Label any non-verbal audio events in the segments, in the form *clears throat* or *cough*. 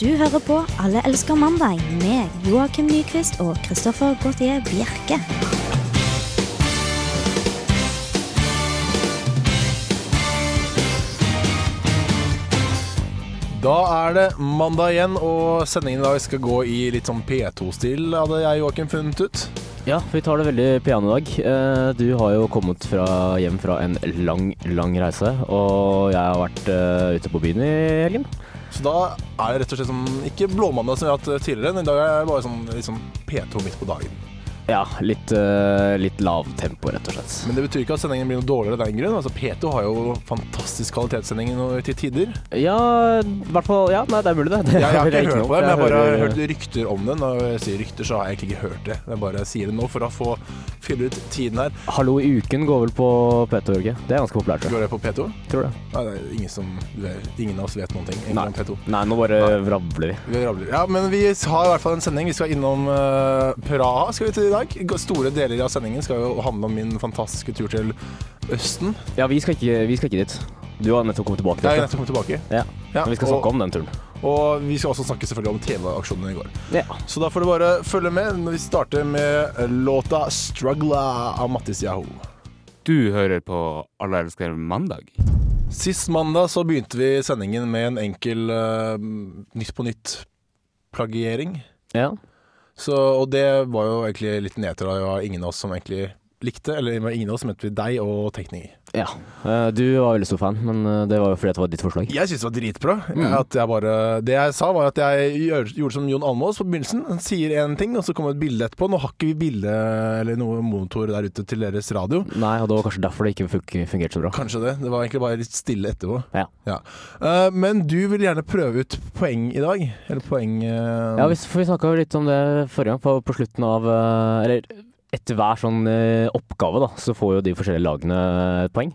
Du hører på Alle elsker mandag med Joakim Nyquist og Christoffer Gautier Bjerke. Da er det mandag igjen, og sendingen i dag skal gå i litt sånn P2-stil, hadde jeg Joakim funnet ut. Ja, vi tar det veldig piano i dag. Eh, Du har jo kommet fra, hjem fra en lang, lang reise, og jeg har vært eh, ute på byen i helgen. Så da er det rett og slett sånn, ikke blåmandag som vi har hatt eh, tidligere, men i dag er det bare sånn, litt sånn P2 midt på dagen. Ja, litt, eh, litt lavtempo, rett og slett. Men det betyr ikke at sendingen blir noe dårligere av den grunn. Altså, P2 har jo fantastisk kvalitetssending nå til *laughs* tider. Ja, i hvert fall Ja, nei, det er mulig, det. det Jeg, jeg har vil ikke hørt noe på det, men jeg bare har hører- hørt rykter om den. Og når jeg sier rykter, så har jeg egentlig ikke hørt det. Jeg bare sier det nå for å få fylle ut tiden her. Hallo i uken går vel på P2, Jørge. Det er ganske populært, tror Går det jeg. på P2? Tror det. Nei, det er ingen, som, ingen av oss vet noen ting egentlig Nei. om P2. Nei, nå bare vravler vi. Vi rabler. Ja, men vi har i hvert fall en sending. Vi skal innom eh, Praha skal vi til i dag. Store deler av sendingen skal jo handle om min fantastiske tur til Østen. Ja, vi skal ikke, vi skal ikke dit. Du har nettopp kommet tilbake. Jeg er til dette. nettopp kommet tilbake. Ja. Ja, Men vi skal og- snakke om den turen. Og vi skal også snakke selvfølgelig om TV-aksjonene i går. Ja. Så da får du bare følge med når vi starter med låta 'Struggla' av Mattis Yahoo. Du hører på Alle elsker mandag. Sist mandag så begynte vi sendingen med en enkel eh, Nytt på nytt-plagiering. ja. Så, og det var jo egentlig litt nedtur av ingen av oss som egentlig likte, eller det var ingen av oss som mente deg og tekniker. ja. Eh, Du var veldig stor fan, men eh, det var jo fordi det var ditt forslag. Jeg synes det var dritbra. At jeg bare, det jeg sa, var at jeg gjør, gjorde som Jon Almaas på begynnelsen. Han sier én ting, og så kommer et bilde etterpå. Nå har ikke vi bilde eller noe monitor der ute til deres radio. Nei, og det var kanskje derfor det ikke fun- fungerte så bra. Kanskje det. Det var egentlig bare litt stille etterpå. Ja. Ja. Eh, men du vil gjerne prøve ut poeng i dag. Eller poeng eh, Ja, vi, s- for vi snakka jo litt om det forrige gang, på, på slutten av eh, Eller etter hver sånn eh, oppgave, da, så får jo de forskjellige lagene et poeng.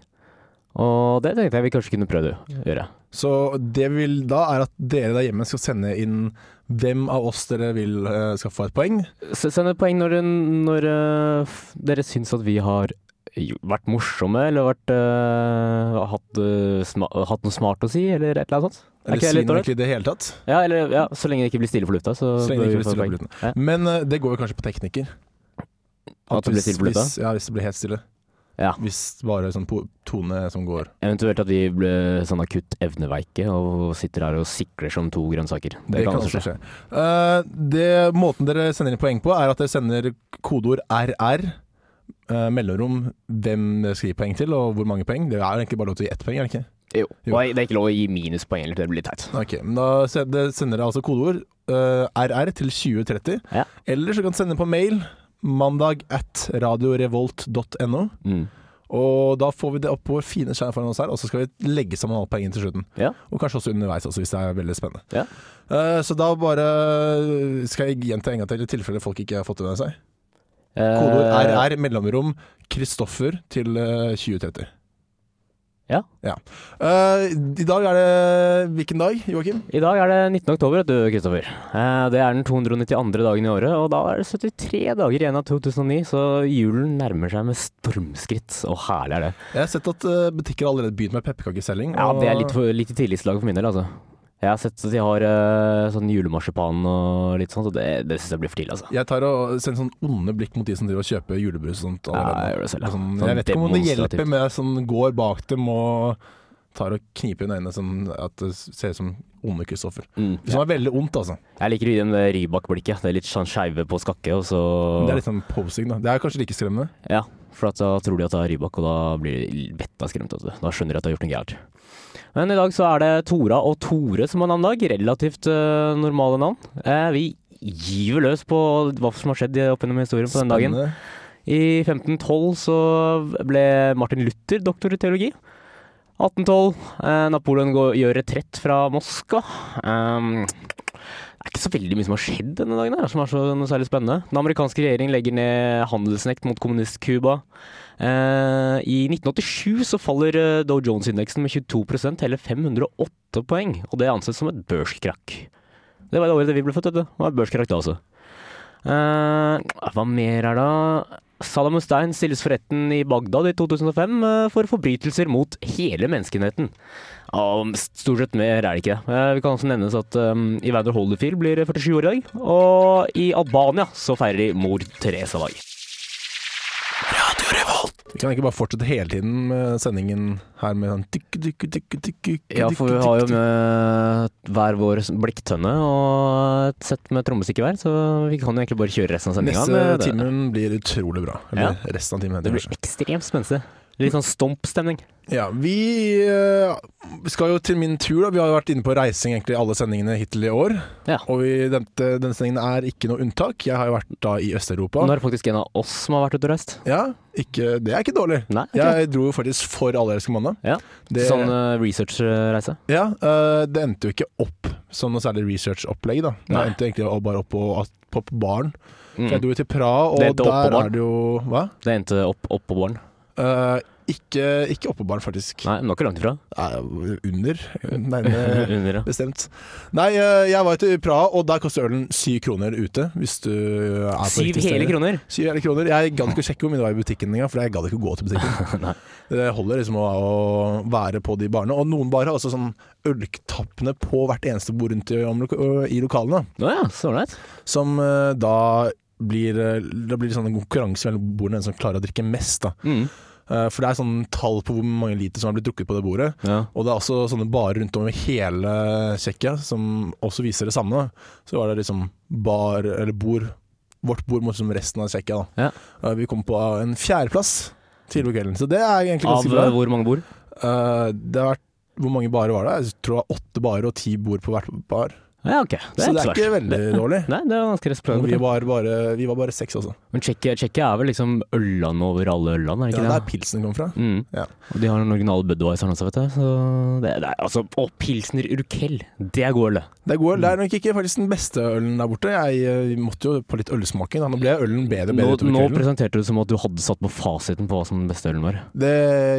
Og det tenkte jeg vi kanskje kunne prøvd å gjøre. Så det vi vil da, er at dere der hjemme skal sende inn hvem av oss dere vil eh, skal få et poeng. S- Send et poeng når, du- når eh, f- dere syns at vi har jo- vært morsomme, eller vært, eh, hatt, eh, sma hatt noe smart å si, eller et eller annet sånt. Er Eller ikke det litt svin dårlig? egentlig i det hele tatt. Ja, eller, ja, så lenge det ikke blir stille på lufta, så Så lenge det ikke bør vi blir få stille på poeng. luften. Ja. Men eh, det går jo kanskje på teknikker. At det hvis- blir stille på lufta? hvis- Ja, hvis det blir helt stille. Ja. Hvis det bare er sånn po- tone som går. Eventuelt at vi ble sånn akutt evneveike og sitter her og sikler som to grønnsaker. Det, kan også skje. Eh, det, måten dere sender inn poeng på, er at dere sender kodeord RR. eh, mellomrom hvem dere skal gi poeng til, og hvor mange poeng. Det er egentlig bare lov til å gi ett poeng, er det ikke? Jo. Jo. Og det er ikke lov å gi minuspoeng heller, det blir litt teit. Ok, men Da se- det sender dere altså kodeord eh, RR til 2030. Ja. Eller så kan dere sende på mail mandag at radiorevolt.no. Mm. Og da får vi det opp på vår fine skjerm foran oss her, og så skal vi legge sammen alle poengene til slutten. Ja. Og kanskje også underveis, også, hvis det er veldig spennende. Ja. Eh, så da bare eh, skal jeg gjenta en gang til, i tilfelle folk ikke har fått det med seg. Eh. Kodeord RR, mellomrom, Kristoffer til eh, 2030. Ja. Eh, I dag er det hvilken dag, Joakim? I dag er det 19. oktober, vet du, Kristoffer. Eh, Det er den 292. dagen i året, og da er det 73 dager igjen av 2009, så julen nærmer seg med stormskritt. Og herlig er det. Jeg har sett at eh, butikker har allerede begynt med pepperkakeselging. Ja, og- det er litt, for, litt i tidligste lag for min del, altså. Jeg har sett at de har eh, sånn julemarsipan og litt sånt, og det, det syns jeg blir for tidlig, altså. Jeg tar og sender sånn onde blikk mot de som driver og kjøper julebrus og sånt. Ja, allerede. jeg gjør det selv. ja. Sånn, Sånn jeg vet ikke om det demonstrativt. hjelper med sånn går bak dem og tar og kniper inn øynene sånn at det ser ut som onde Kristoffer. Mm. Som er veldig ondt, altså. Jeg liker å gi dem det Rybak-blikket. Det er litt sånn skeive på skakke, og så Det er litt sånn posing, da. Det er kanskje like skremmende. Ja, for at da tror de at det er Rybak, og da blir de vetta skremt. vet du. Da skjønner de at de har gjort noe gærent. Men i dag så er det Tora og Tore som har navnedag. Relativt eh, normale navn. Eh, vi gyver løs på hva som har skjedd i- opp gjennom historien på den dagen. Spennende. I 1512 så ble Martin Luther doktor i teologi. 1812. Eh, Napoleon går, gjør retrett fra Moskva. Ehm, det er ikke så veldig mye som har skjedd denne dagen her, som er så noe særlig spennende. Den amerikanske regjeringen legger ned handelsnekt mot kommunist-Cuba. Eh, I 1987 så faller eh, Dow Jones-indeksen med 22 hele 508 poeng. Og det anses som et børskrakk. Det var det året vi ble født, vet du. Det var et børskrakk da også. Eh, hva altså. mer er da? Saddam Hussein stilles for retten i Bagdad i 2005 eh, for forbrytelser mot hele menneskeheten. Ja, stort sett mer er det ikke. Eh, Vi kan også nevnes at um, Evander Holyfield blir 47 år i dag. Og i Albania så feirer de mor Teresa dag. Vi kan ikke bare fortsette hele tiden med sendingen her med sånn dykke, dykke, dykke, dykke, dykke, Ja, for vi dykke, har jo dykke, med hver vår blikktønne og et sett med trommestykke hver, så vi kan jo egentlig bare kjøre resten av dykke. sendinga. Neste timen blir utrolig bra. Eller resten av timen. eh, Det heter det blir kanskje. ekstremt spenstig. Litt sånn stompstemning. Ja, vi eh, skal jo til min tur, da. Vi har jo vært inne på reising egentlig i alle sendingene hittil i år. Ja. Og vi, denne, denne sendingen er ikke noe unntak. Jeg har jo vært da i Øst-Europa. Nå er det faktisk en av oss som har vært ute og reist. Ja, ikke, det er ikke dårlig. Nei, ok. Jeg dro jo faktisk for Alle elsker mandag. Ja. Det, Sånn eh, researchreise. ja, eh, det endte jo ikke opp som noe særlig research-opplegg, da. Det Nei. endte egentlig bare opp på, på baren. For Jeg Mm. dro jo til Praha, og Det endte opp på der baren. er det jo Hva? Det endte opp, opp på våren. Eh, ikke, ikke oppe på baren, faktisk. Nei, men det var ikke langt ifra. Nei, under. Nærmere *laughs* Under, ja. Bestemt. Nei, eh, jeg var til Praha, og der koster ølen syv kroner ute. Hvis du eh, er på Syv riktig sted. hele kroner! Syv hele kroner. Jeg gadd ikke å sjekke hvor mye det var i butikken engang, for jeg gadd ikke å gå til butikken. *laughs* Nei. det holder liksom å, å være på de barene. Og noen barer har også sånn øltappene på hvert eneste bord rundt i, om, lo- i lokalene, Å ja, så ålreit. som eh, da blir, eh, da blir det sånn en konkurranse mellom bordene, den som klarer å drikke mest. Da. Mm. Eh, For det er sånn tall på hvor mange liter som har blitt drukket på det bordet. Ja. Og det er også sånne barer rundt om i hele Tsjekkia som også viser det samme. da. Så var det liksom bar, eller bord, vårt bord mot liksom resten av Tsjekkia. da. Ja. Eh, Vi kom på en fjerdeplass tidlig på kvelden, så det er egentlig Av ganske bra. eh, hvor mange bor? Eh, Det har vært hvor mange barer var det? Jeg tror det var åtte barer og ti bord på hvert bar. Ja, ok. Det så er det er ikke så ikke verst. veldig dårlig. Nei, *laughs* det er ganske Og Vi respektabelt. var, bare, vi var bare seks også. Men Tsjekkia Tsjekkia er vel liksom ølland over alle ølland, er Ja, det det ikke det? er pilsen kom fra. Mm. Ja. Og de har den originale Budwiseren også, vet du. Så det, det er altså Og Pilsner Urkel! Det er god øl, det. Det er, god, øl. det er nok ikke faktisk den beste ølen der borte. Jeg eh, måtte jo på litt ølsmaking. da. Nå ble ølen bedre og Nå, bedre utover nå kvelden. presenterte du det som at du hadde satt på fasiten på hva som den beste ølen var. Det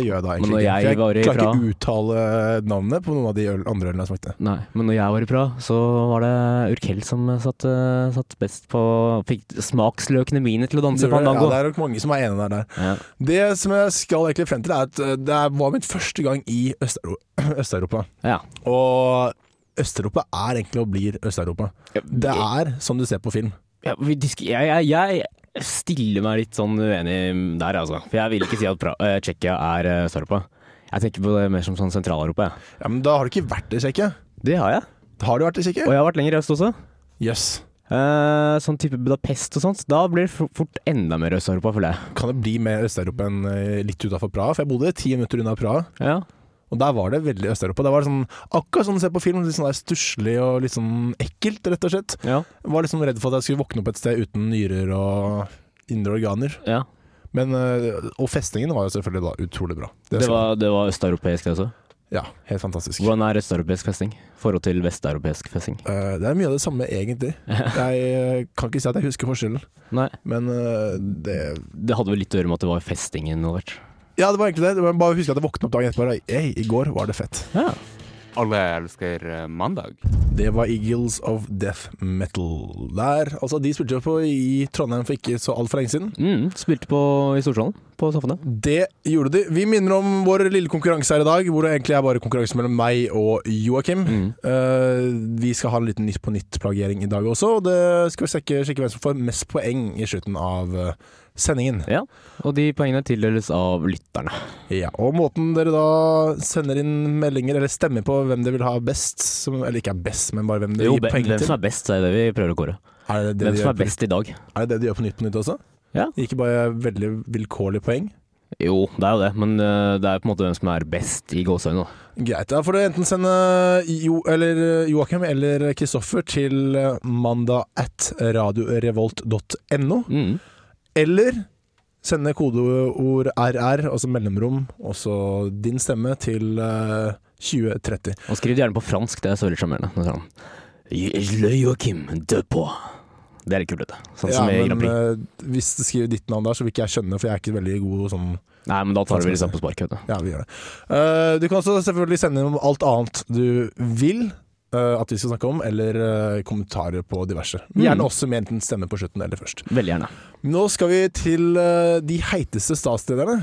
gjør jeg da Men egentlig når ikke. jeg for var i Jeg klarer Praha- ikke å uttale navnet på noen av de øl, andre ølene jeg smakte. Nei, men når jeg var i Praha, så var det Urkel som satt, eh, satt best på Fikk smaksløkene mine til å danse ja, pandango. det er nok mange som er enige der. der. Ja. Det som jeg skal egentlig frem til, er at eh, det var mitt første gang i Øst-Euro- *clears throat* Øst-Europa. Ja. Og Øst-Europa er egentlig og blir Øst-Europa. Det er som du ser på film. Ja, vi disk jeg, jeg, jeg stiller meg litt sånn uenig der, altså. For jeg vil ikke si at Pra- eh, Tsjekkia er eh, Øst-Europa. Jeg tenker på det mer som sånn Sentral-Europa. jeg. Ja, Men da har du ikke vært i Tsjekkia. Det har jeg. Har du vært i Og Tsjekkia? jeg har vært lenger i øst også. Jøss. Eh, sånn type Budapest og sånt. Da blir det for- fort enda mer Øst-Europa, føler jeg. Kan det bli mer Øst-Europa enn eh, litt utafor Praha? For jeg bodde ti minutter unna Praha. Ja. Og der var det veldig Øst-Europa. Det var sånn, akkurat sånn du ser på film, litt sånn der stusslig og litt sånn ekkelt, rett og slett. Ja. Jeg var liksom redd for at jeg skulle våkne opp et sted uten nyrer og indre organer. ja. Men, øh, og festningen var jo selvfølgelig da utrolig bra. sånn- Det var, det var østeuropeisk, det også. Ja, helt fantastisk. Hvordan er østeuropeisk festing? Forhold til vesteuropeisk festing? Eh, det er mye av det samme, *laughs* egentlig. Jeg eh, kan ikke si at jeg husker forskjellen, Nei, men eh, det det hadde vel litt å gjøre med at det var festing involvert. Ja, det var egentlig det. det var bare å huske at jeg våkna opp dagen etterpå og bare, «Ei, i går var det fett. Ja. Alle elsker eh, mandag. Det var Eagles of Death Metal der. Altså, de spilte jo på i Trondheim for ikke så altfor lenge siden. Mm, spilte på i Storsalen, på Samfunnet. Det gjorde de. Vi minner om vår lille konkurranse her i dag, hvor det egentlig er bare konkurranse mellom meg og Joakim. Mm. Eh, vi skal ha en liten Nytt på nytt-plagiering i dag også, og det skal vi sjekke, sjekke hvem som får mest poeng i slutten av eh, sendingen. Ja, og de poengene tildeles av lytterne. Ja, og måten dere da sender inn meldinger, eller stemmer på hvem dere vil ha best, som, eller ikke er best, men bare hvem dere Jo, gir be- poeng hvem til. som er best, er det vi prøver å kåre. Er det det, Hvem de som gjør, er best i dag. er det det de gjør på Nytt på nytt også? Ja. Ikke bare veldig vilkårlige poeng? Jo, det er jo det, men eh, det er på en måte hvem som er best i gåseøynene. da. Greit. Da får du enten sende jo, eller eh, Joakim eller Kristoffer til mandag at radiorevolt.no, Mm. eller sende kodeord RR, altså mellomrom, også din stemme, til eh, 2030. Og skriv det gjerne på fransk, det er så veldig sjarmerende. Nå sier han, Le Joachim de Pau. Det er litt kult, dette. Sånn som i Ja, men Grand Prix. eh, hvis du skriver ditt navn der, så vil ikke jeg skjønne, for jeg er ikke veldig god sånn Nei, men da tar vi liksom på sparket, vet du. Ja, vi gjør det. Eh, du kan også selvfølgelig sende inn om alt annet du vil. eh, at vi skal snakke om, eller eh, kommentarer på diverse. Mm. Gjerne også med enten stemme på slutten eller først. Veldig gjerne. Nå skal vi til eh, de heiteste statslederne.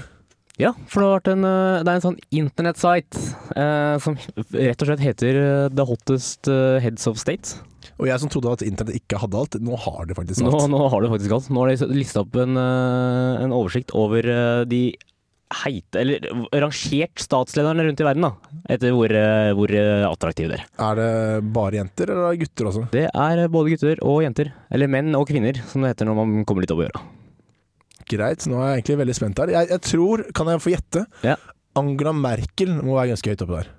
Ja, for det har vært en, eh, det er en sånn internettsite eh, som rett og slett heter eh, The Hottest eh, Heads of State. Og jeg som trodde at internett ikke hadde alt, nå har det faktisk Nå, alt. nå har du faktisk alt. Nå har de lista opp en, eh, en oversikt over eh, de heite, eller rangert statslederne rundt i verden, da. Etter hvor, eh, hvor eh, attraktive de er. Er det bare jenter, eller er det gutter også? Det er eh, både gutter og jenter. Eller menn og kvinner, som det heter når man kommer litt opp i åra. Greit, nå er jeg egentlig veldig spent her. Jeg, jeg tror, kan jeg få gjette? Ja. Angela Merkel må være ganske høyt oppe der.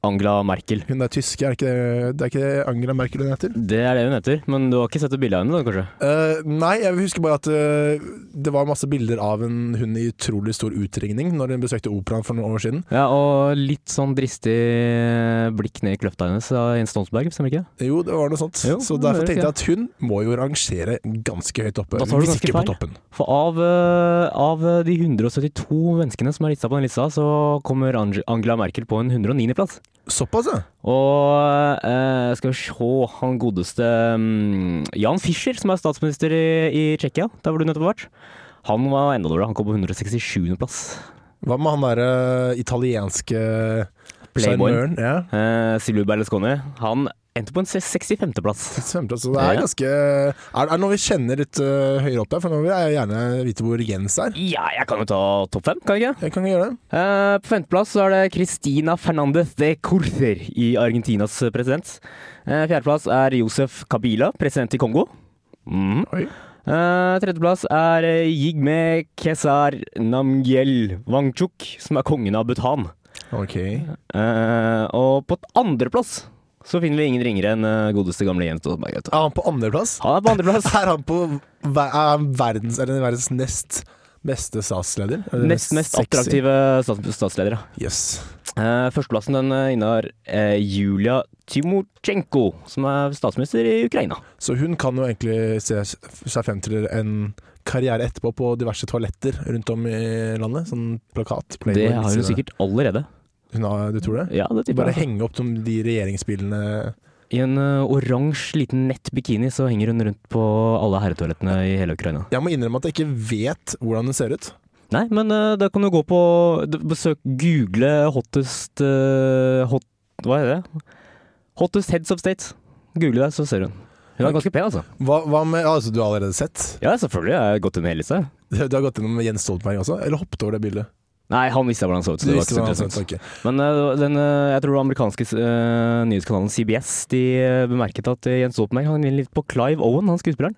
Angela Merkel. Hun er tysk, er det ikke det, det, er ikke det Angela Merkel hun heter? Det er det hun heter, men du har ikke sett et bilde av henne, da, kanskje? Eh, nei, jeg husker bare at eh, det var masse bilder av en hund i utrolig stor utringning når hun besøkte operaen for noen år siden. Ja, og litt sånn dristig eh, blikk ned i kløfta hennes av Jens Stoltenberg, stemmer ikke det? Jo, det var noe sånt. Jo, så det derfor høres tenkte jeg at hun må jo rangere ganske høyt oppe. Da tar du hvis ganske ikke på feil. toppen. For av, eh, av de 172 menneskene som er lista på den lista, så kommer Ange- Angela Merkel på en 109.-plass. Såpass, ja. Og eh, skal vi se han godeste mm, Jan Fischer, som er statsminister i, i Tsjekkia, der hvor du nettopp har vært. Han var enda dårligere, han kom på 167.-plass. Hva med han derre italienske Playboyen. sjarmøren? Ja. *laughs* Eh, Silvio Berlusconi, han endte på en 65.-plass. Svømmeplass, så det er Ja. ganske Er, er det noe vi kjenner litt øh, høyere opp der? For nå vil jeg gjerne vite hvor Jens er. Ja, jeg kan jo ta topp fem, kan jeg ikke? Jeg kan gjøre det. Eh, På femteplass så er det Cristina Fernández de Corfer i Argentinas president. Eh, Fjerdeplass er Josef Kabila, president i Kongo. Mm. Oi. Eh, Tredjeplass er eh, Jigme Kesar Namgyel Wangchuk, som er kongen av Bhutan. Ok. Eh, Og på andreplass så finner vi ingen ringere enn eh, godeste gamle Jens Stoltenberg. vet du. Er han på andreplass? *laughs* Han er på andreplass. Er han på ver er han verdens, er han verdens nest beste statsleder? Er det Nest mest sexy? attraktive stats statsledere. Yes. Eh, Førsteplassen den eh, innehar eh, Julia Tymosjenko, som er statsminister i Ukraina. Så hun kan jo egentlig se seg frem til en karriere etterpå på diverse toaletter rundt om i landet. Sånn plakat. Playboy, Det har hun sine- sikkert allerede. Hun har, du tror det? Ja, det tipper Bare jeg. altså. henge opp som de regjeringsbilene I en ø, oransje liten nett bikini så henger hun rundt på alle herretoalettene i hele Ukraina. Jeg må innrømme at jeg ikke vet hvordan hun ser ut. Nei, men ø, da kan du gå på d- Besøk Google hottest ø, hot, Hva er det? Hottest heads of state. Google det, så ser hun. Hun er ganske pen, altså. Hva, hva med Altså, du har allerede sett? *laughs* Ja, selvfølgelig. Jeg har gått en hel liste. Du har gått gjennom Jens Stoltenberg også? Eller hoppet over det bildet? Nei, han visste hvordan han så ut. Så Du det var visste ikke så hva han interessant. sa, sånn ok. Men eh, den, eh, jeg tror den amerikanske eh, nyhetskanalen CBS de eh, bemerket at eh, Jens Stoltenberg hang litt på Clive Owen, han skuespilleren.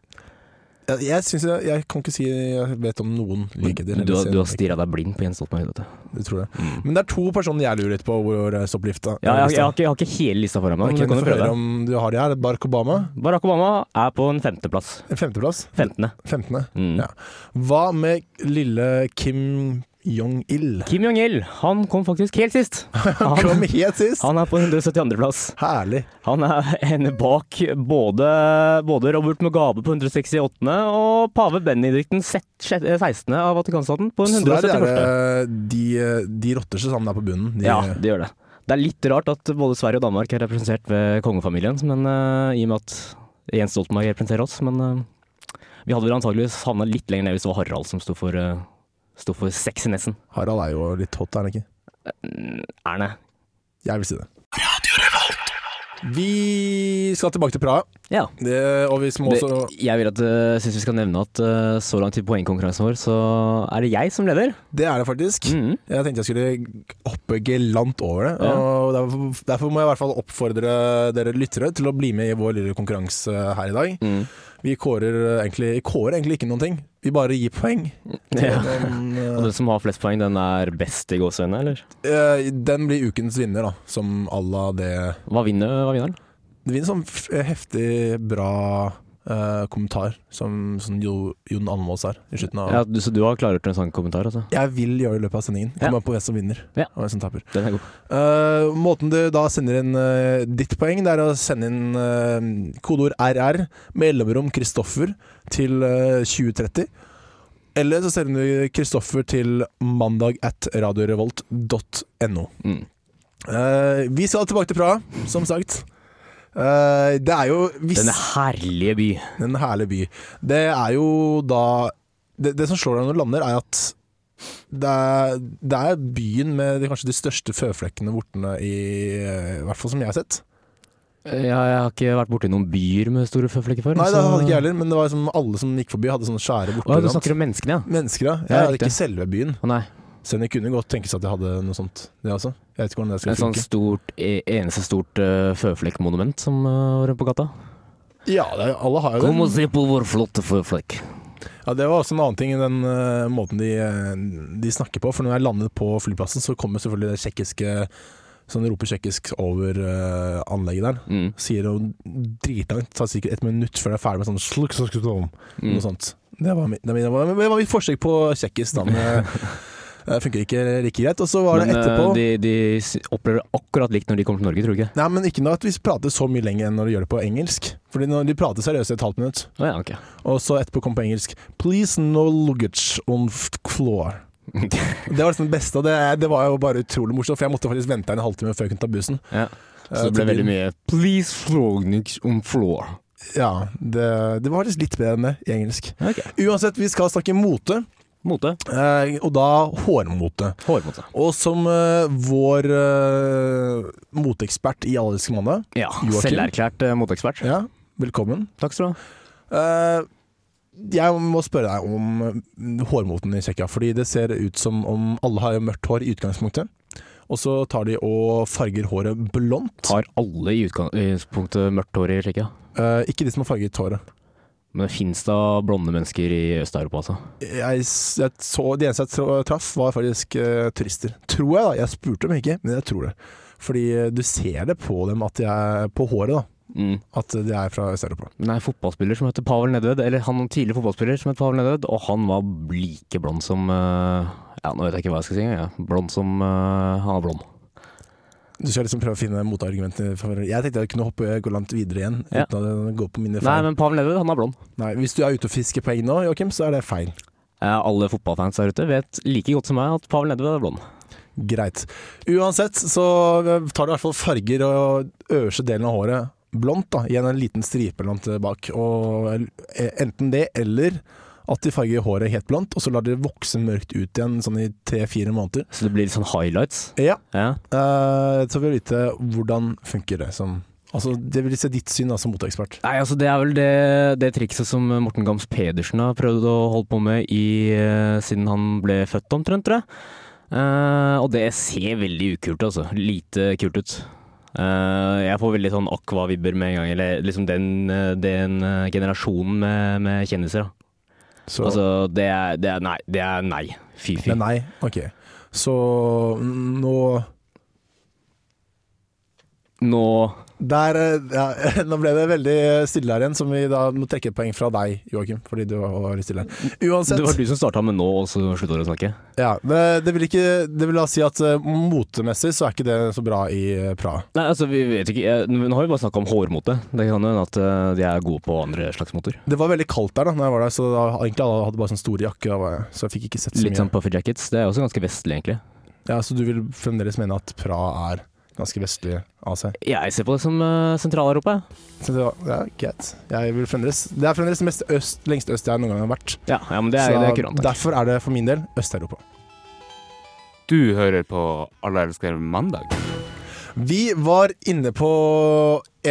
Jeg, jeg, synes jeg, jeg kan ikke si jeg vet om noen likheter. Men Du, har- eller du har ser- stirra deg blind på Jens Stoltenberg. vet du. Du tror det. Men det er to personer jeg lurer litt på hvor eh, jeg står på lifta. Ja, jeg, jeg, har ikke, jeg har ikke hele lista foran meg. Ok, men du du kan jo får høre prøve. om du har det her. Barack Obama, Barack Obama er på en femteplass. en femteplass. Femtende. Femtende. Mm. Ja. Hva med lille Kim Jong-il? Kim Jong-il han kom faktisk helt *laughs* sist. Kom Han, helt sist! han er på 172.-plass. Herlig. Han er *laughs* henne bak både, både Robert Mugabe på 168. og pave Benedikten 16. av Vatikanstaten på Så der er 171. det de, de rotter seg sammen der på bunnen. De, Ja, det gjør det. Det er litt rart at både Sverige og Danmark er representert ved kongefamilien, men eh, i og med at Jens Stoltenberg representerer oss. Men eh, vi hadde vel antageligvis havna litt lenger ned hvis det var Harald som sto for, uh, sto for sexinessen. Harald er jo litt hot, er han ikke? Mm, Erne. Jeg vil si det. Vi skal tilbake til Praha, Ja. det, og vi må Det, også jeg vil at, eh, synes vi skal nevne at eh, så langt i poengkonkurransen vår, så er det jeg som leder. Det er det faktisk. Mhm. Jeg tenkte jeg skulle hoppe gelant over det. Ja. Og derfor, derfor må jeg i hvert fall oppfordre dere lyttere til å bli med i vår lille konkurranse her i dag. Mm. Vi kårer egentlig, kårer egentlig ikke noen ting. Vi bare gir poeng. til *laughs* Ja. noen, *laughs* Og den som har flest poeng, den er best i gåseøynene, eller? eh, eh, den blir ukens vinner, da. Som à la det Hva vinner, hva vinner den? Det blir en sånn f- heftig, bra eh, kommentar som, som jo, Jon Almaas er i slutten av Ja, du, så du har klargjort en sånn kommentar, altså? Jeg vil gjøre det i løpet av sendingen. Ja. Komme an på hvem som vinner, Ja. og hvem som taper. Den er god. Eh, måten du da sender inn eh, ditt poeng, det er å sende inn eh, kodeord RR, mellomrom Kristoffer, til eh, 2030. Eller så sender du Kristoffer til mandag at radiorevolt.no. Mm. Eh, vi skal tilbake til Praha, som sagt. Eh, det er jo hvis, Denne herlige by. En herlig by. Det er jo da Det, det som slår deg når du lander, er at det er, det er byen med de, kanskje de største føflekkene vortene i eh, hvert fall som jeg har sett. Eh, Ja, jeg har ikke vært borti noen byer med store føflekker før. Nei, det så- hadde ikke jeg heller, men det var liksom alle som gikk forbi, hadde sånne skjære altså- Å, vorter. og du sånt. snakker om menneskene, ja. Mennesker, ja. Ja, Jeg hadde riktig. ikke selve byen. Å nei. Selv om det kunne godt tenkes at jeg hadde noe sånt, det også. Jeg vet ikke hvordan det En skal sånn funke. stort, e- eneste stort eh, føflekkmonument som eh, var rundt på gata. Ja, det, er- alle har jo det. se på vår flotte føflekk. Ja, det var også en annen ting i den eh, måten de, eh, de snakker på. For når jeg landet på flyplassen, så kommer selvfølgelig det tsjekkiske Sånn roper tsjekkisk over eh, anlegget der. Mm. Sier det dritlangt. Tar sikkert et minutt før det er ferdig med sånn sluk, sluk, sluk, sluk, Mm. Noe sånt. Det var, mi- det var mi- det var, det var mitt forsøk på tsjekkisk. da, men, eh, Funker ikke like greit. Og så var Men det eh, etterpå de, de s- opplever det akkurat likt når de kommer til Norge, tror du ikke? Nei, men ikke noe at vi prater så mye lenger enn når de gjør det på engelsk. Fordi når de prater seriøst i et halvt minutt, Å ja, ok. og så etterpå kom på engelsk Please no luggage on f- floor. *laughs* Det var liksom det beste, og det, det var jo bare utrolig morsomt, for jeg måtte faktisk vente en halvtime før jeg kunne ta bussen. Ja. Eh, Så til det ble veldig byen. mye Please flognix on floor. Ja, det, det var faktisk litt bedre enn det i engelsk. Ok. Uansett, vi skal snakke mote, Mote. eh, og da hårmote. Hårmote. Og som eh, vår eh, moteekspert i Allerske mandag, Ja. Joakim. Selverklært eh, moteekspert. ja, velkommen. Takk skal du ha. Eh, jeg må spørre deg om eh, hårmoten i Tsjekkia. Fordi det ser ut som om alle har mørkt hår i utgangspunktet. Og så tar de og farger håret blondt. Har alle i utgangspunktet mørkt hår i Tsjekkia? Eh, ikke de som har farget håret. Men det fins da blonde mennesker i Øst-Europa, altså. Jeg, s- jeg så, de eneste jeg tro- traff, var faktisk eh, turister. Tror jeg, da. Jeg spurte dem ikke, men jeg tror det. Fordi eh, du ser det på dem, at de er, på håret, da, Mm. at de er fra Øst-Europa. Men det er en fotballspiller som heter Pavel Nedved, eller han tidligere fotballspiller som het Pavel Nedved, og han var like blond som eh, Ja, nå vet jeg ikke hva jeg skal si engang. Ja. Blond som eh, Han er blond. Du skal liksom prøve å finne motargumentene. for- Jeg tenkte jeg kunne hoppe gå langt videre igjen. Ja. Uten å gå på mine feil. Nei, men Pavel Nedved, han er blond. Nei, Hvis du er ute og fisker poeng nå, Joakim, så er det feil. Eh, alle fotballfans der ute vet like godt som meg at Pavel Nedved er blond. Greit. Uansett så tar du i hvert fall farger og øverste delen av håret blondt, da, i en liten stripe eller noe bak. Og e, enten det eller at de farger håret helt blondt, og så lar de det vokse mørkt ut igjen sånn i tre-fire måneder. Så det blir litt sånn highlights. Ja, Ja. eh, så vil vi vite hvordan funker det som Altså, det vil si ditt syn da, som moteekspert. Nei, altså Det er vel det, det trikset som Morten Gams Pedersen har prøvd å holde på med i, eh, siden han ble født, omtrent, tror jeg. Eh, og det ser veldig ukult altså. Lite kult ut. Eh, jeg får veldig sånn Aqua-vibber med en gang. Eller liksom den, eh, den eh, generasjonen med, med kjendiser. Da. Så, Altså, det er, det er nei. Det er nei. Fy, fy. men nei, ok. Så nå Nå Der, eh, ja, *laughs* nå ble det veldig stille her igjen, som vi da må trekke et poeng fra deg, Joakim. Fordi du var litt stille her. Uansett. Det var du som starta med nå, og så slutta du å snakke? Ja, det, det, vil ikke, det vil da si at eh, motemessig så er ikke det så bra i eh, Praha. Nei, altså, vi vet ikke. Jeg, nå har vi bare snakka om hårmote. Det kan hende at eh, de er gode på andre slags moter. Det var veldig kaldt der da når jeg var der, så da, egentlig alle hadde bare sånn store jakker, da var jeg- så jeg fikk ikke sett så Litt mye. sånn puffer jackets. Det er også ganske vestlig, egentlig. Ja, så du vil fremdeles mene at Praha er ganske vestlig av seg? Jeg ser på det som uh, Sentral-Europa. jeg. Så det var, ja, greit. Jeg vil fremdeles, det er fremdeles mest øst, lengst øst jeg noen gang har vært. Ja, ja, men det er, så det er kurant. takk. derfor er det for min del Øst-Europa. Du hører på Alle elsker mandag. Vi var inne på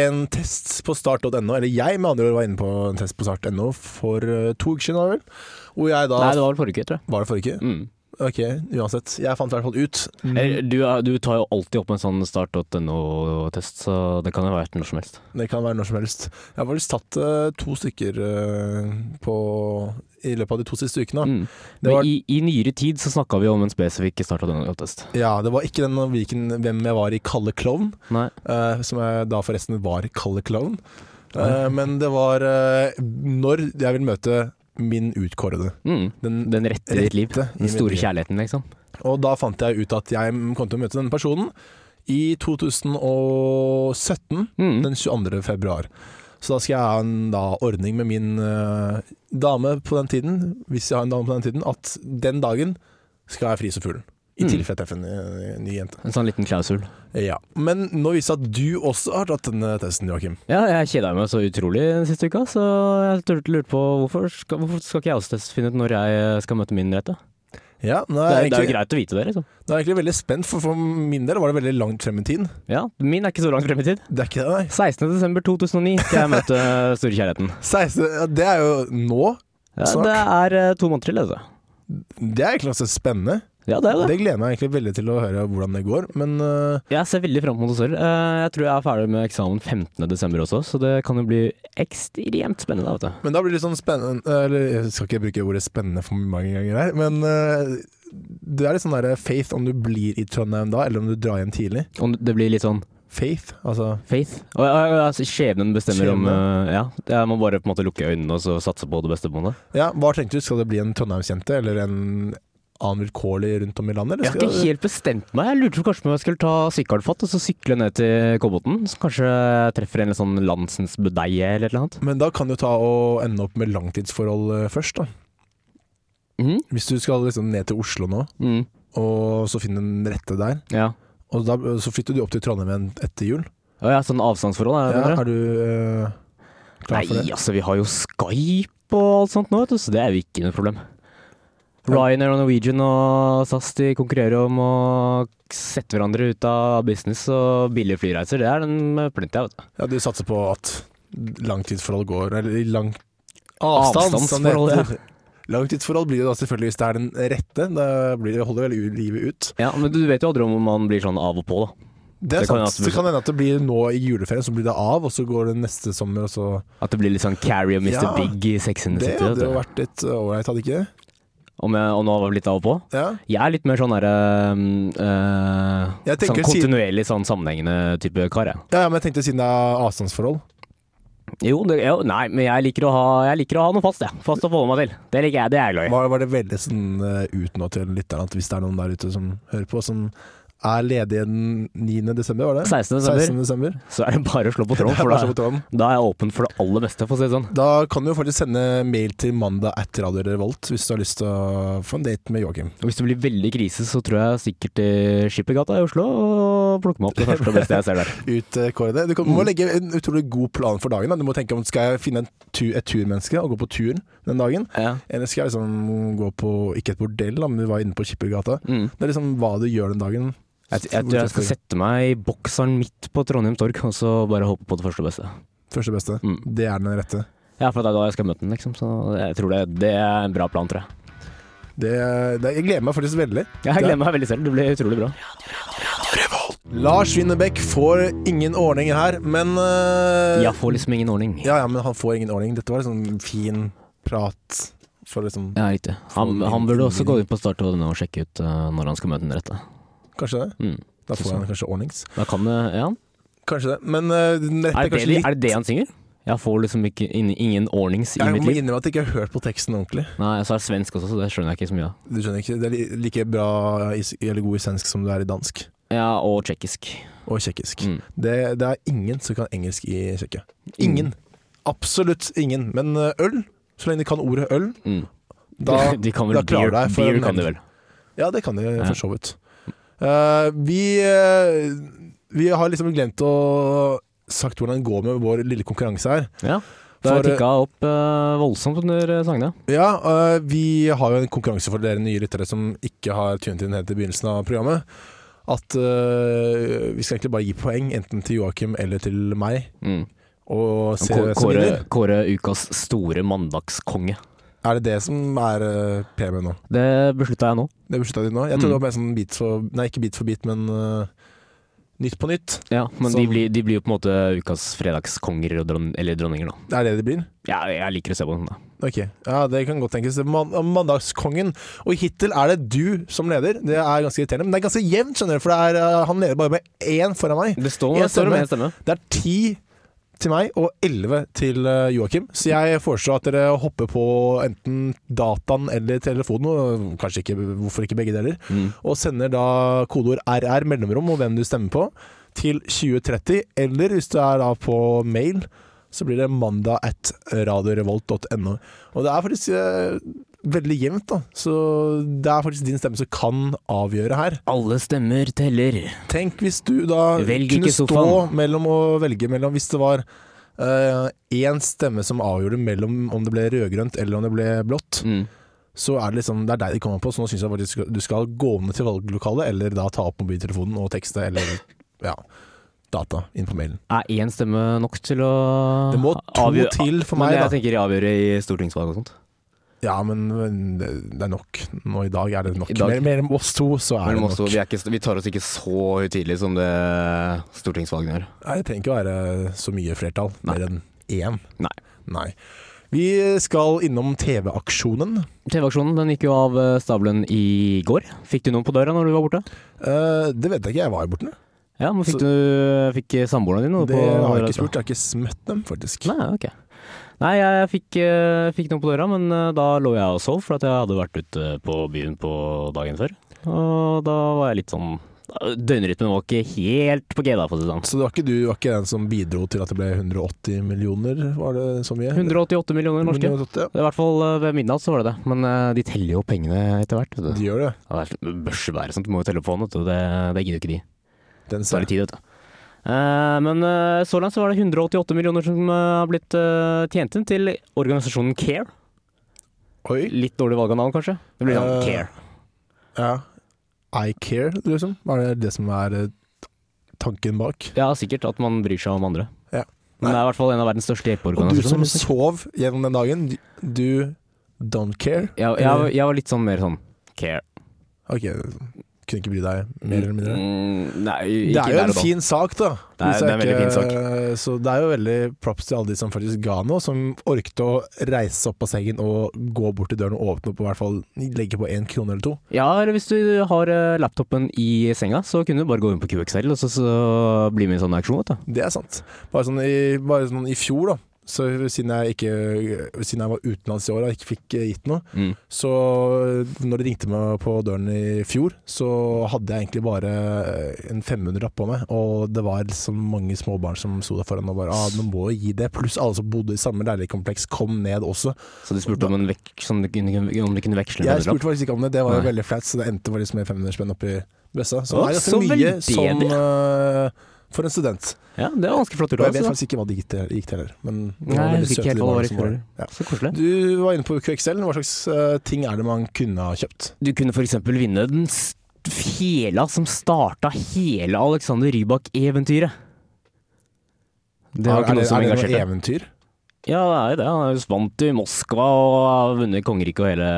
en test på start.no, eller jeg med andre ord var inne på en test på start.no for eh, to uker siden, var det vel? Hvor jeg da Nei, det var vel forrige uke, tror jeg. Var det forrige uke? Mm. Ok, uansett. Jeg fant i hvert fall ut. Eller, Du, er- du tar jo alltid opp en sånn start.no-test, så det kan jo være når som helst. Det kan være når som helst. Jeg har faktisk tatt eh, to stykker eh, på, i løpet av de to siste ukene. Mm. Det Men var- i, i nyere tid så snakka vi om en spesifikk start.no-test. Ja, det var ikke den om hvilken, hvem jeg var i Kalle Klovn, Nei. eh, som jeg da forresten var Kalle Klovn. Eh, men det var eh, når jeg vil møte min utkårede. Mm. Den Den rette i ditt liv. rette i Den mitt store liv. kjærligheten, liksom. Og da fant jeg ut at jeg kom til å møte denne personen i 2017, Mm. den 22. februar. Så da skal jeg ha en da, ordning med min eh, dame på den tiden, hvis jeg har en dame på den tiden, at den dagen skal jeg fri som fuglen. I Mm. tilfelle jeg treffer en eh, ny jente. En sånn liten klausul. Ja. Men nå viser det seg at du også har tatt denne testen, Joakim. Ja, jeg kjeda meg så utrolig den siste uka, så jeg turte lurte på hvorfor skal, hvorfor skal ikke jeg også test- finne ut når jeg skal møte min rette? Ja, nå Det er jeg er, det er jo egentlig, greit å vite det, liksom. nå er jeg egentlig veldig spent, for for min del var det veldig langt frem i tiden. Ja, min er ikke så langt frem i tid. Det er ikke det, nei. 16.12.2009 skal jeg *laughs* møte store kjærligheten. 16, ja, det er jo nå. Ja, Snart. det er eh, to måneder til, altså. Det er egentlig ganske spennende. Ja, det er jo det. Det gleder jeg meg egentlig veldig til å høre hvordan det går, men eh, Jeg ser veldig fram mot det selv. Eh, Jeg tror jeg er ferdig med eksamen 15.12. også, så det kan jo bli ekstremt spennende. vet du. Men da blir det litt sånn spennende Eller jeg skal ikke bruke ordet spennende for mange ganger her, men eh, det er litt sånn der faith om du blir i Trondheim da, eller om du drar hjem tidlig. Og det blir litt sånn Faith, altså faith. Og, og, og, altså, skjebnen bestemmer om Skjebne. eh, Ja, jeg må bare på en måte lukke øynene og så satse på det beste på en måte. Ja, hva tenkte du? Skal det bli en trondheimsjente eller en annen vilkårlig rundt om i landet? Jeg Eller har ikke skal helt bestemt meg. Jeg lurte på kanskje om jeg skulle ta sykkelfatt og så sykle ned til Kolbotn. Så kanskje jeg treffer en eller sånn landsens budeie eller et eller annet. men da kan du ta og ende opp med langtidsforhold eh, først, da. Mhm. Hvis du skal liksom ned til Oslo nå, Mm. og så finne den rette der, Ja. og da, så flytter du opp til Trondheim igjen etter jul. Og jeg har sånn avstandsforhold. Er det Ja, det? er du eh, klar for Nei, det? altså, vi har jo Skype og alt sånt nå, vet du, så det er jo ikke noe problem. Ryanair og Norwegian og SAS de konkurrerer om å sette hverandre ut av business og billige flyreiser. Det er den med plenty av. vet du. Ja, du satser på at langtidsforhold går Eller i lang som det Avstandsforhold, ja. heter. Langtidsforhold blir det da selvfølgelig hvis det er den rette. Da blir det, holder vel u- livet ut. Ja, men du vet jo aldri om man blir sånn av og på, da. Det er Det kan sant. jeg også- det kan hende at det blir nå i juleferien, så blir det av, og så går det neste sommer, og så At det blir litt sånn Carrie og Mr. Ja, Big i Sex and the Det City. vet hadde du. jo vært litt ålreit, hadde ikke det? Om jeg om nå var litt av og på. Ja. Jeg er litt mer sånn derre Jeg tenker sånn siden- kontinuerlig sånn sammenhengende type kar, jeg. ja, ja, men jeg tenkte siden det er avstandsforhold. Jo, det, jo, nei, men jeg liker å ha, jeg liker å ha noe fast, jeg. Fast å forholde meg til. Det liker jeg, det er jeg glad i. Var, var det veldig sånn eh, ut nå til lytterne at hvis det er noen der ute som hører på, som er ledige den 9. desember, var det? 16. desember, 16. desember. så er det bare å slå på *laughs* tråden, Det er *laughs* for bare så på da, tråden. da er jeg åpen for det aller meste, for å si det sånn. Da kan du jo faktisk sende mail til mandag at Radio Revolt hvis du har lyst til å få en date med Joakim. Og hvis det blir veldig krise, så tror jeg sikkert til Skippergata i Oslo og plukker meg opp det første og beste jeg ser der. Ut eh, Kåre det. Du kan, må legge en utrolig god plan for dagen. Da. Du må tenke om skal jeg finne en tu, et turmenneske og gå på tur den dagen, *laughs* Ja. eller skal jeg liksom gå på ikke et bordell, da, men vi var inne på Skippergata. Mm. Det er liksom hva du gjør den dagen. Jeg, jeg tror jeg skal sette meg i bokseren midt på Trondheim Torg, og så bare håpe på det første og beste. Første beste. Mm. Det er den rette. Ja, for det er da jeg skal møte den, liksom, så jeg tror det, det er en bra plan, tror jeg. Det, det, jeg gleder meg faktisk veldig. Jeg gleder meg veldig selv, det blir utrolig bra. Lars Winnerbäck får ingen ordning her, men eh, Jeg får liksom ingen ordning. Ja, ja, men han får ingen ordning. Dette var liksom fin prat for liksom Ja, riktig. Han, han burde også gå inn på Start og og sjekke ut eh, når han skal møte den rette. Kanskje det. Mm. Da får han kanskje ordnings. Da kan det, ja. Kanskje det. Men eh, den rette Er er det, kanskje det, litt er det det han synger? Jeg får liksom ikke, ingen, ingen ordnings i Jeg mitt må liv. innrømme at jeg ikke har hørt på teksten ordentlig. Nei, så er det svensk også, så det skjønner jeg ikke så mye av. Du skjønner ikke, Det er li- like bra i, s- eller god i svensk som det er i dansk. Ja, og tsjekkisk. Og tsjekkisk. Mm. Det, det er ingen som kan engelsk i Tsjekkia. Ingen. Absolutt ingen. Men eh, øl, så lenge de kan ordet øl, Mm. da, *laughs* de kan vel da klarer du deg for beer en kan de helg. vel. Ja, det kan de Ja. for så vidt. Eh, vi, eh, vi har liksom glemt å sagt hvordan det går med vår lille konkurranse her. Ja. Det har For, eh, tikka opp eh, voldsomt under eh, sangene. Ja, eh, vi har jo en konkurranse for dere nye lyttere som ikke har tunet inn helt i begynnelsen av programmet. At eh, vi skal egentlig bare gi poeng, enten til Joakim eller til meg, Mm. og se Kå- hvem som Kåre, vinner. Kåre ukas store mandagskonge. Er det det som er eh, premien nå? Det beslutta jeg nå. Det beslutta de nå. Jeg Mm. tror det var mer sånn bit for Nei, ikke bit for bit, men eh, Nytt på nytt. Ja, Men de Som- blir, de blir jo på en måte ukas fredagskonger og dron eller dronninger, da. Det er det det blir? Ja, jeg liker å se på den, da. Ok, ja det kan godt tenkes. Man eh, mandagskongen. Og hittil er det du som leder. Det er ganske irriterende, men det er ganske jevnt, skjønner du. For det er, eh, han leder bare med én foran meg. Det står Jeg det står om stemmer. én stemme. Det er ti til meg og elleve til eh, Joakim. Så jeg foreslår at dere hopper på enten dataen eller telefonen, og kanskje ikke, hvorfor ikke begge deler, Mm. og sender da kodeord RR mellomrom og hvem du stemmer på, til 2030. Eller hvis du er da på mail, så blir det mandag at radiorevolt.no. Og det er faktisk eh, veldig jevnt, da. Så det er faktisk din stemme som kan avgjøre her. Alle stemmer teller. Tenk hvis du da Velg kunne ikke stå sofaen. mellom å velge mellom Hvis det var eh, én stemme som avgjorde mellom om det ble rødgrønt eller om det ble blått, Mm. så er det liksom Det er deg de kommer på, så nå syns jeg faktisk du skal gå ned til valglokalet, eller da ta opp mobiltelefonen og tekste, eller *laughs* ja data inn på mailen. Er én stemme nok til å Det må to avgjøre- til for Men meg, jeg da. tenker avgjøre i stortingsvalg og sånt. Ja, men men det det er nok. Nå i dag er det nok. I dag- Mer- Mer enn oss to, så er det Men nok. også, vi, er ikke, vi tar oss ikke så høytidelig som det stortingsvalgene gjør. Nei, det trenger ikke være så mye flertall. Nei. Mer enn én. Nei. Nei. Vi skal innom TV-aksjonen. TV-aksjonen den gikk jo av eh, stabelen i går. Fikk du noen på døra når du var borte? Eh, det vet jeg ikke, jeg var jo borte. Ja, men Så- Fikk, du- eh, fikk samboerne dine noe Det på har jeg døra? ikke spurt. Jeg har ikke smøtt dem, faktisk. Nei, ok. Nei, jeg fikk, eh, fikk noen på døra, men eh, da lå jeg og sov, for at jeg hadde vært ute på byen på dagen før. Og da var jeg litt sånn Døgnrytmen var ikke helt på G, da, for å si det sånn. Så det var ikke du var ikke den som bidro til at det ble 180 millioner, var det så mye? 188 millioner norske. 180, I hvert fall eh, ved midnatt så var det det. Men eh, de teller jo pengene etter hvert. ja. Vet du. De gjør det. Ja, det er børsebær og sånt, du må jo telle på den, vet du. Det, det gidder jo ikke de. Den Så ser er det tid, vet du. Eh, men eh, så langt så var det 188 millioner som eh, har blitt eh, tjent inn til organisasjonen Care. Oi. Litt dårlig valg av navn, kanskje? Det blir sånn Eh, Care. Ja. I care, liksom. Er det det som er eh, tanken bak? Ja, sikkert at man bryr seg om andre. Ja. Men det er i hvert fall en av verdens Og største du som hjelpeorganisasjoner. liksom. sov gjennom den dagen, du don't care? Jeg, jeg, jeg var litt sånn mer sånn Care. Ok, kunne ikke bry deg mer eller mindre? Mm, nei, Det ikke er jo der en og da. fin sak, da. Det er- Hvis jeg det er en veldig fin ikke- Så det er jo veldig props til alle de som faktisk ga noe, som orket å reise seg opp av sengen og gå bort til døren og åpne opp og i hvert fall legge på én krone eller to. Ja, eller hvis du har eh, laptopen i senga, så kunne du bare gå inn på QXL og så, så bli med i en sånn auksjon, vet du. Det er sant. Bare sånn i, bare sånn i fjor, da. Så siden jeg, ikke, siden jeg var utenlands i år og ikke fikk eh, gitt noe, Mm. så når de ringte meg på døren i fjor, så hadde jeg egentlig bare en 500 oppå meg, og det var så mange småbarn som sto der foran og bare ah, 'Man må jo gi det', pluss alle som bodde i samme leilighetskompleks, kom ned også. Så du spurte om, en vek, sånn, du kunne- om du kunne veksle Jeg med en lapp? spurte faktisk ikke om det, det var jo Nei. veldig flaut, så det endte faktisk med 500 spenn oppi bøssa. Så det Å, er ganske så mye veldedig. som eh, for en student. Ja, det var ganske Og flott jeg gjort. vet altså. faktisk ikke hva det gikk til, gikk til heller. Men det Nei, var jeg veldig husker søte ikke helt hva det var barn i som var der. Ja. Så koselig. Du var inne på QXL. Hva slags eh, ting er det man kunne ha kjøpt? Du kunne f.eks. vinne den s- fela som starta hele Alexander Rybak-eventyret. Det var ikke er, noe som er det engasjerte. noe eventyr? Ja, det er jo det. Han er jo vant i Moskva og har vunnet kongeriket og hele,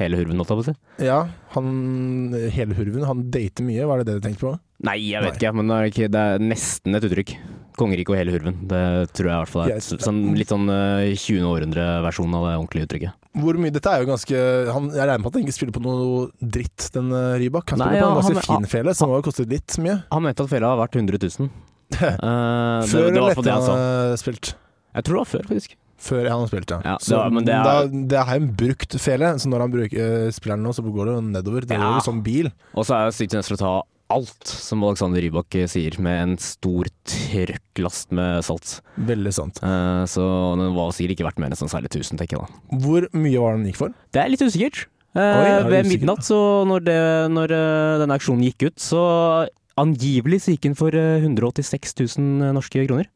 hele hurven, holdt jeg på å si. Ja, han hele hurven, han dater mye, var det det du tenkte på? Nei, jeg vet Nei. ikke, men det er, ikke, det er nesten et uttrykk. Kongeriket og hele hurven. Det tror jeg i hvert fall er et, Jeg- sånn, litt sånn eh, 20. århundre-versjon av det ordentlige uttrykket. Hvor mye Dette er jo ganske han, Jeg regner med at han ikke spiller på noe dritt, den eh, Rybak. Han Nei, spiller ja, på en ganske fin han- fele, som har kostet litt mye. Han mente at fela var verdt *laughs* 100 000. Eh, det, Før det eller var for etter det han han sa. har spilt? Jeg tror det var før, faktisk. Før han har spilt, ja. Ja, det så var- men det er- da, det er en brukt fele, så når han bruker, eh, spiller den nå, så går det jo nedover. Det Ja. går jo som bil. Og så er jeg sykt nødt til å ta alt, som Alexander Rybak eh, sier, med en stor trøkklast med salt. Veldig sant. Eh, så den var sikkert ikke verdt mer enn sånn særlig 1000, tenker jeg da. Hvor mye var det han gikk for? Det er litt usikkert. Eh, er du ved usikker? midnatt, så når, det, når eh, denne aksjonen gikk ut, så angivelig så gikk den for eh, 186 000 norske kroner.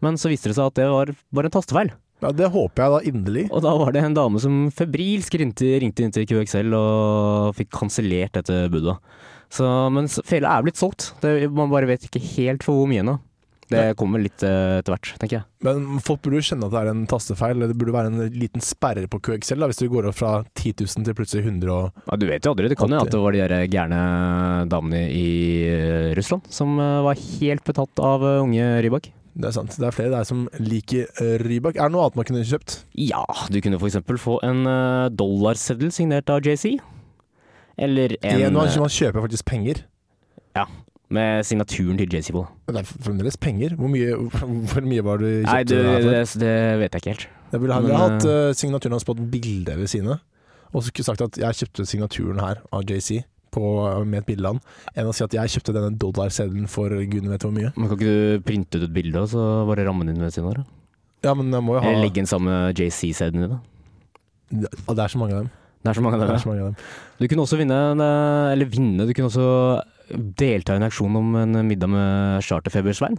Men så viste det seg at det var bare en tastefeil. Ja, Det håper jeg da inderlig. Og da var det en dame som febrilsk ringte, ringte inn til QXL og fikk kansellert dette budet. Så, men s- fela er blitt solgt. Det, man bare vet ikke helt for hvor mye ennå. Det kommer litt eh, etter hvert, tenker jeg. Men folk burde jo skjønne at det er en tastefeil. eller Det burde være en liten sperre på QXL da, hvis du går opp fra 10 000 til plutselig 100 og Ja, du vet jo aldri. Det kan jo Alltid. at det var de der gærne damene i eh, Russland som eh, var helt betatt av eh, unge Rybak. Det er sant. Det er flere der som liker eh, Rybak. Er det noe annet man kunne kjøpt? Ja, du kunne for eksempel få en eh, dollarseddel signert av JC. Eller en En, man, eh, man kjøper faktisk penger. med signaturen til JC på. Men Det er fremdeles penger. Hvor mye, *laughs* hvor mye var det du kjøpte Nei, du, det her for? det, det vet jeg ikke helt. Jeg ville ha, Men, jeg har hatt eh, eh, signaturen hans på et bilde ved siden av. Og så skulle jeg sagt at jeg kjøpte signaturen her av JC på, med et bilde av han, enn å si at jeg kjøpte denne dollarseddelen for gudene vet hvor mye. Men kan ikke du printe ut et bilde og så bare ramme den inn ved siden av? da? Ja, men jeg må jo ha Eller legge den sammen med JC-sedelen din? da? Det det er så mange av dem. Det er så mange av Det dem. er så mange av dem. Du kunne også vinne, en, eh, eller vinne, du kunne også delta i en aksjon om en middag med charterfeber-Svein.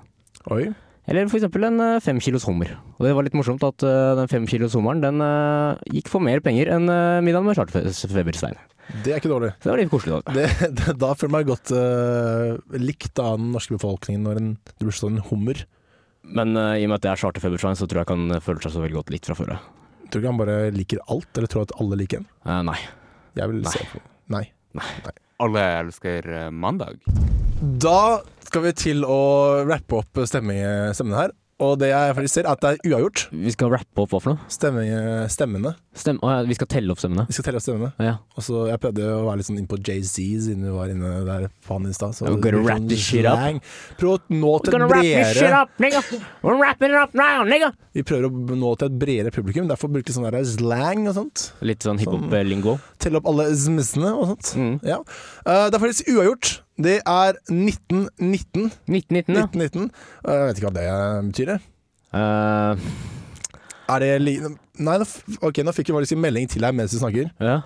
Oi. Eller for eksempel en eh, fem kilos hummer. Og det var litt morsomt at eh, den fem kilos hummeren den eh, gikk for mer penger enn eh, middagen med charterfeber-Svein. Det er ikke dårlig. Så det var litt koselig. da. Det, det, *laughs* da føler jeg meg godt eh, likt av den norske befolkningen når en, det blir sånn en hummer. Men eh, i og med at det er charterfeber-Svein, så tror jeg ikke han føler seg så veldig godt litt fra før. ja. Tror du ikke han bare liker alt, eller tror at alle liker en? Eh, nei. Jeg vil Nei. se på Nei. Alle elsker eh, mandag. Da skal vi til å rappe opp stemme- stemmen her. Og det jeg faktisk ser, er at det er uavgjort. Vi skal rappe opp hva for noe? Stemme, stemmene. Stem Å, ja, vi skal telle opp stemmene? Vi skal telle opp stemmene. Ja. Og så Jeg prøvde å være litt sånn inn på Jay-Z siden vi var inne der på han i stad. så We're gonna det blir wrap sånn this shit up. slang. Prøv å nå til et bredere up, nigga! We're wrapping it up now, nigga! Vi prøver å nå til et bredere publikum. Derfor bruker vi sånn der slang og sånt. Litt sånn hiphop-lingo. Telle opp alle zmsene og sånt. Mm. Ja. Eh, det er faktisk uavgjort. Det er 1919. 1919, ja. 1919. Eh, jeg vet ikke hva det betyr. jeg. Eh, Er det li Nei, nå f ok, nå fikk vi faktisk en melding til deg mens du snakker. ja.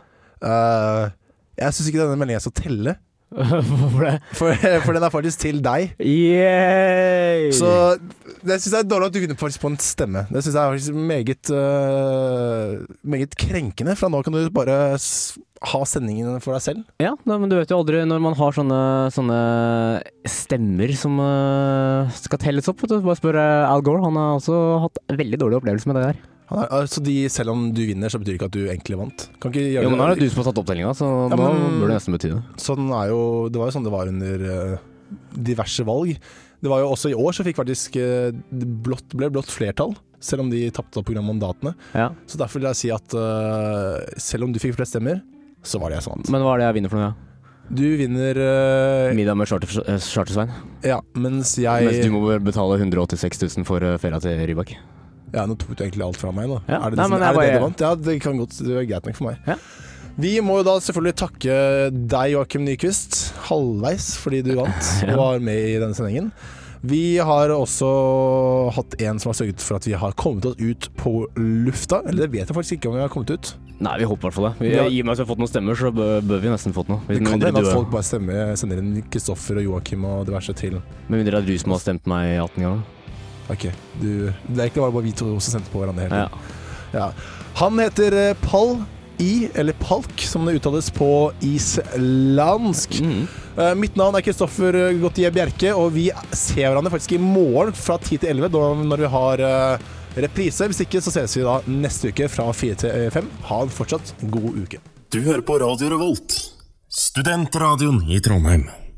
Eh, jeg syns ikke denne meldingen skal telle, Hvorfor det? for, *laughs* for den er faktisk til deg. *laughs* Yay! Så det syns jeg er dårlig at du kunne faktisk på en stemme. Det syns jeg er faktisk meget, øh, meget krenkende. Fra nå kan du bare s ha sendingene for deg selv. Ja, nei, men du vet jo aldri når man har sånne, sånne stemmer som eh, skal telles opp. Vet du. Bare spør eh, Al Gore. Han har også hatt veldig dårlig opplevelse med det der. Han er, altså de, selv om du vinner, så betyr det ikke at du egentlig vant. Kan ikke gjøre Jo, men nå det. er det du som har tatt opptellinga, så Ja, nå men- burde det nesten bety det. Sånn er jo, det var jo sånn det var under øh, diverse valg. Det var jo også i år så fikk faktisk øh, blått, ble blått flertall, selv om de tapte pga. mandatene. Ja. Så derfor vil jeg si at øh, selv om du fikk flest stemmer, så var det jeg som vant. Men hva er det jeg vinner for noe? Du vinner øh, Ja? Middag med charter- eh, Charter-Svein? Ja, mens jeg Mens du må vel betale 186 000 for eh, feria til Rybak? Ja, nå tok du egentlig alt fra meg, da. Ja, Er det, nei, det, som- men jeg er det, det bare- du vant? Ja, det kan godt Det er greit nok for meg. Ja. Vi må jo da selvfølgelig takke deg, Joakim Nyquist, halvveis fordi du vant og *laughs* Ja. var med i denne sendingen. Vi har også hatt en som har sørget for at vi har kommet oss ut på lufta. Eller det vet jeg faktisk ikke om vi har kommet ut. Nei, vi håper i hvert fall det. Vi, Ja. I og med at vi har fått noen stemmer, så bør, bør vi nesten fått noe. Hvis- Det kan med mindre hende at du- folk bare stemmer, sender inn Kristoffer og Joakim og diverse til. Med mindre det er du som har stemt meg 18 ganger. Ok, du Det er egentlig bare vi to som sendte på hverandre hele Ja. Ja. Han heter eh, Pall I, eller Palk, som det uttales på islandsk. Mm. Eh, Mitt navn er Kristoffer Gautier Bjerke, og vi ser hverandre faktisk i morgen fra 10 til 11 da, når vi har eh, reprise. Hvis ikke, så ses vi da neste uke fra 4 til eh, 5. Ha en fortsatt god uke. Du hører på Radio Revolt, studentradioen i Trondheim.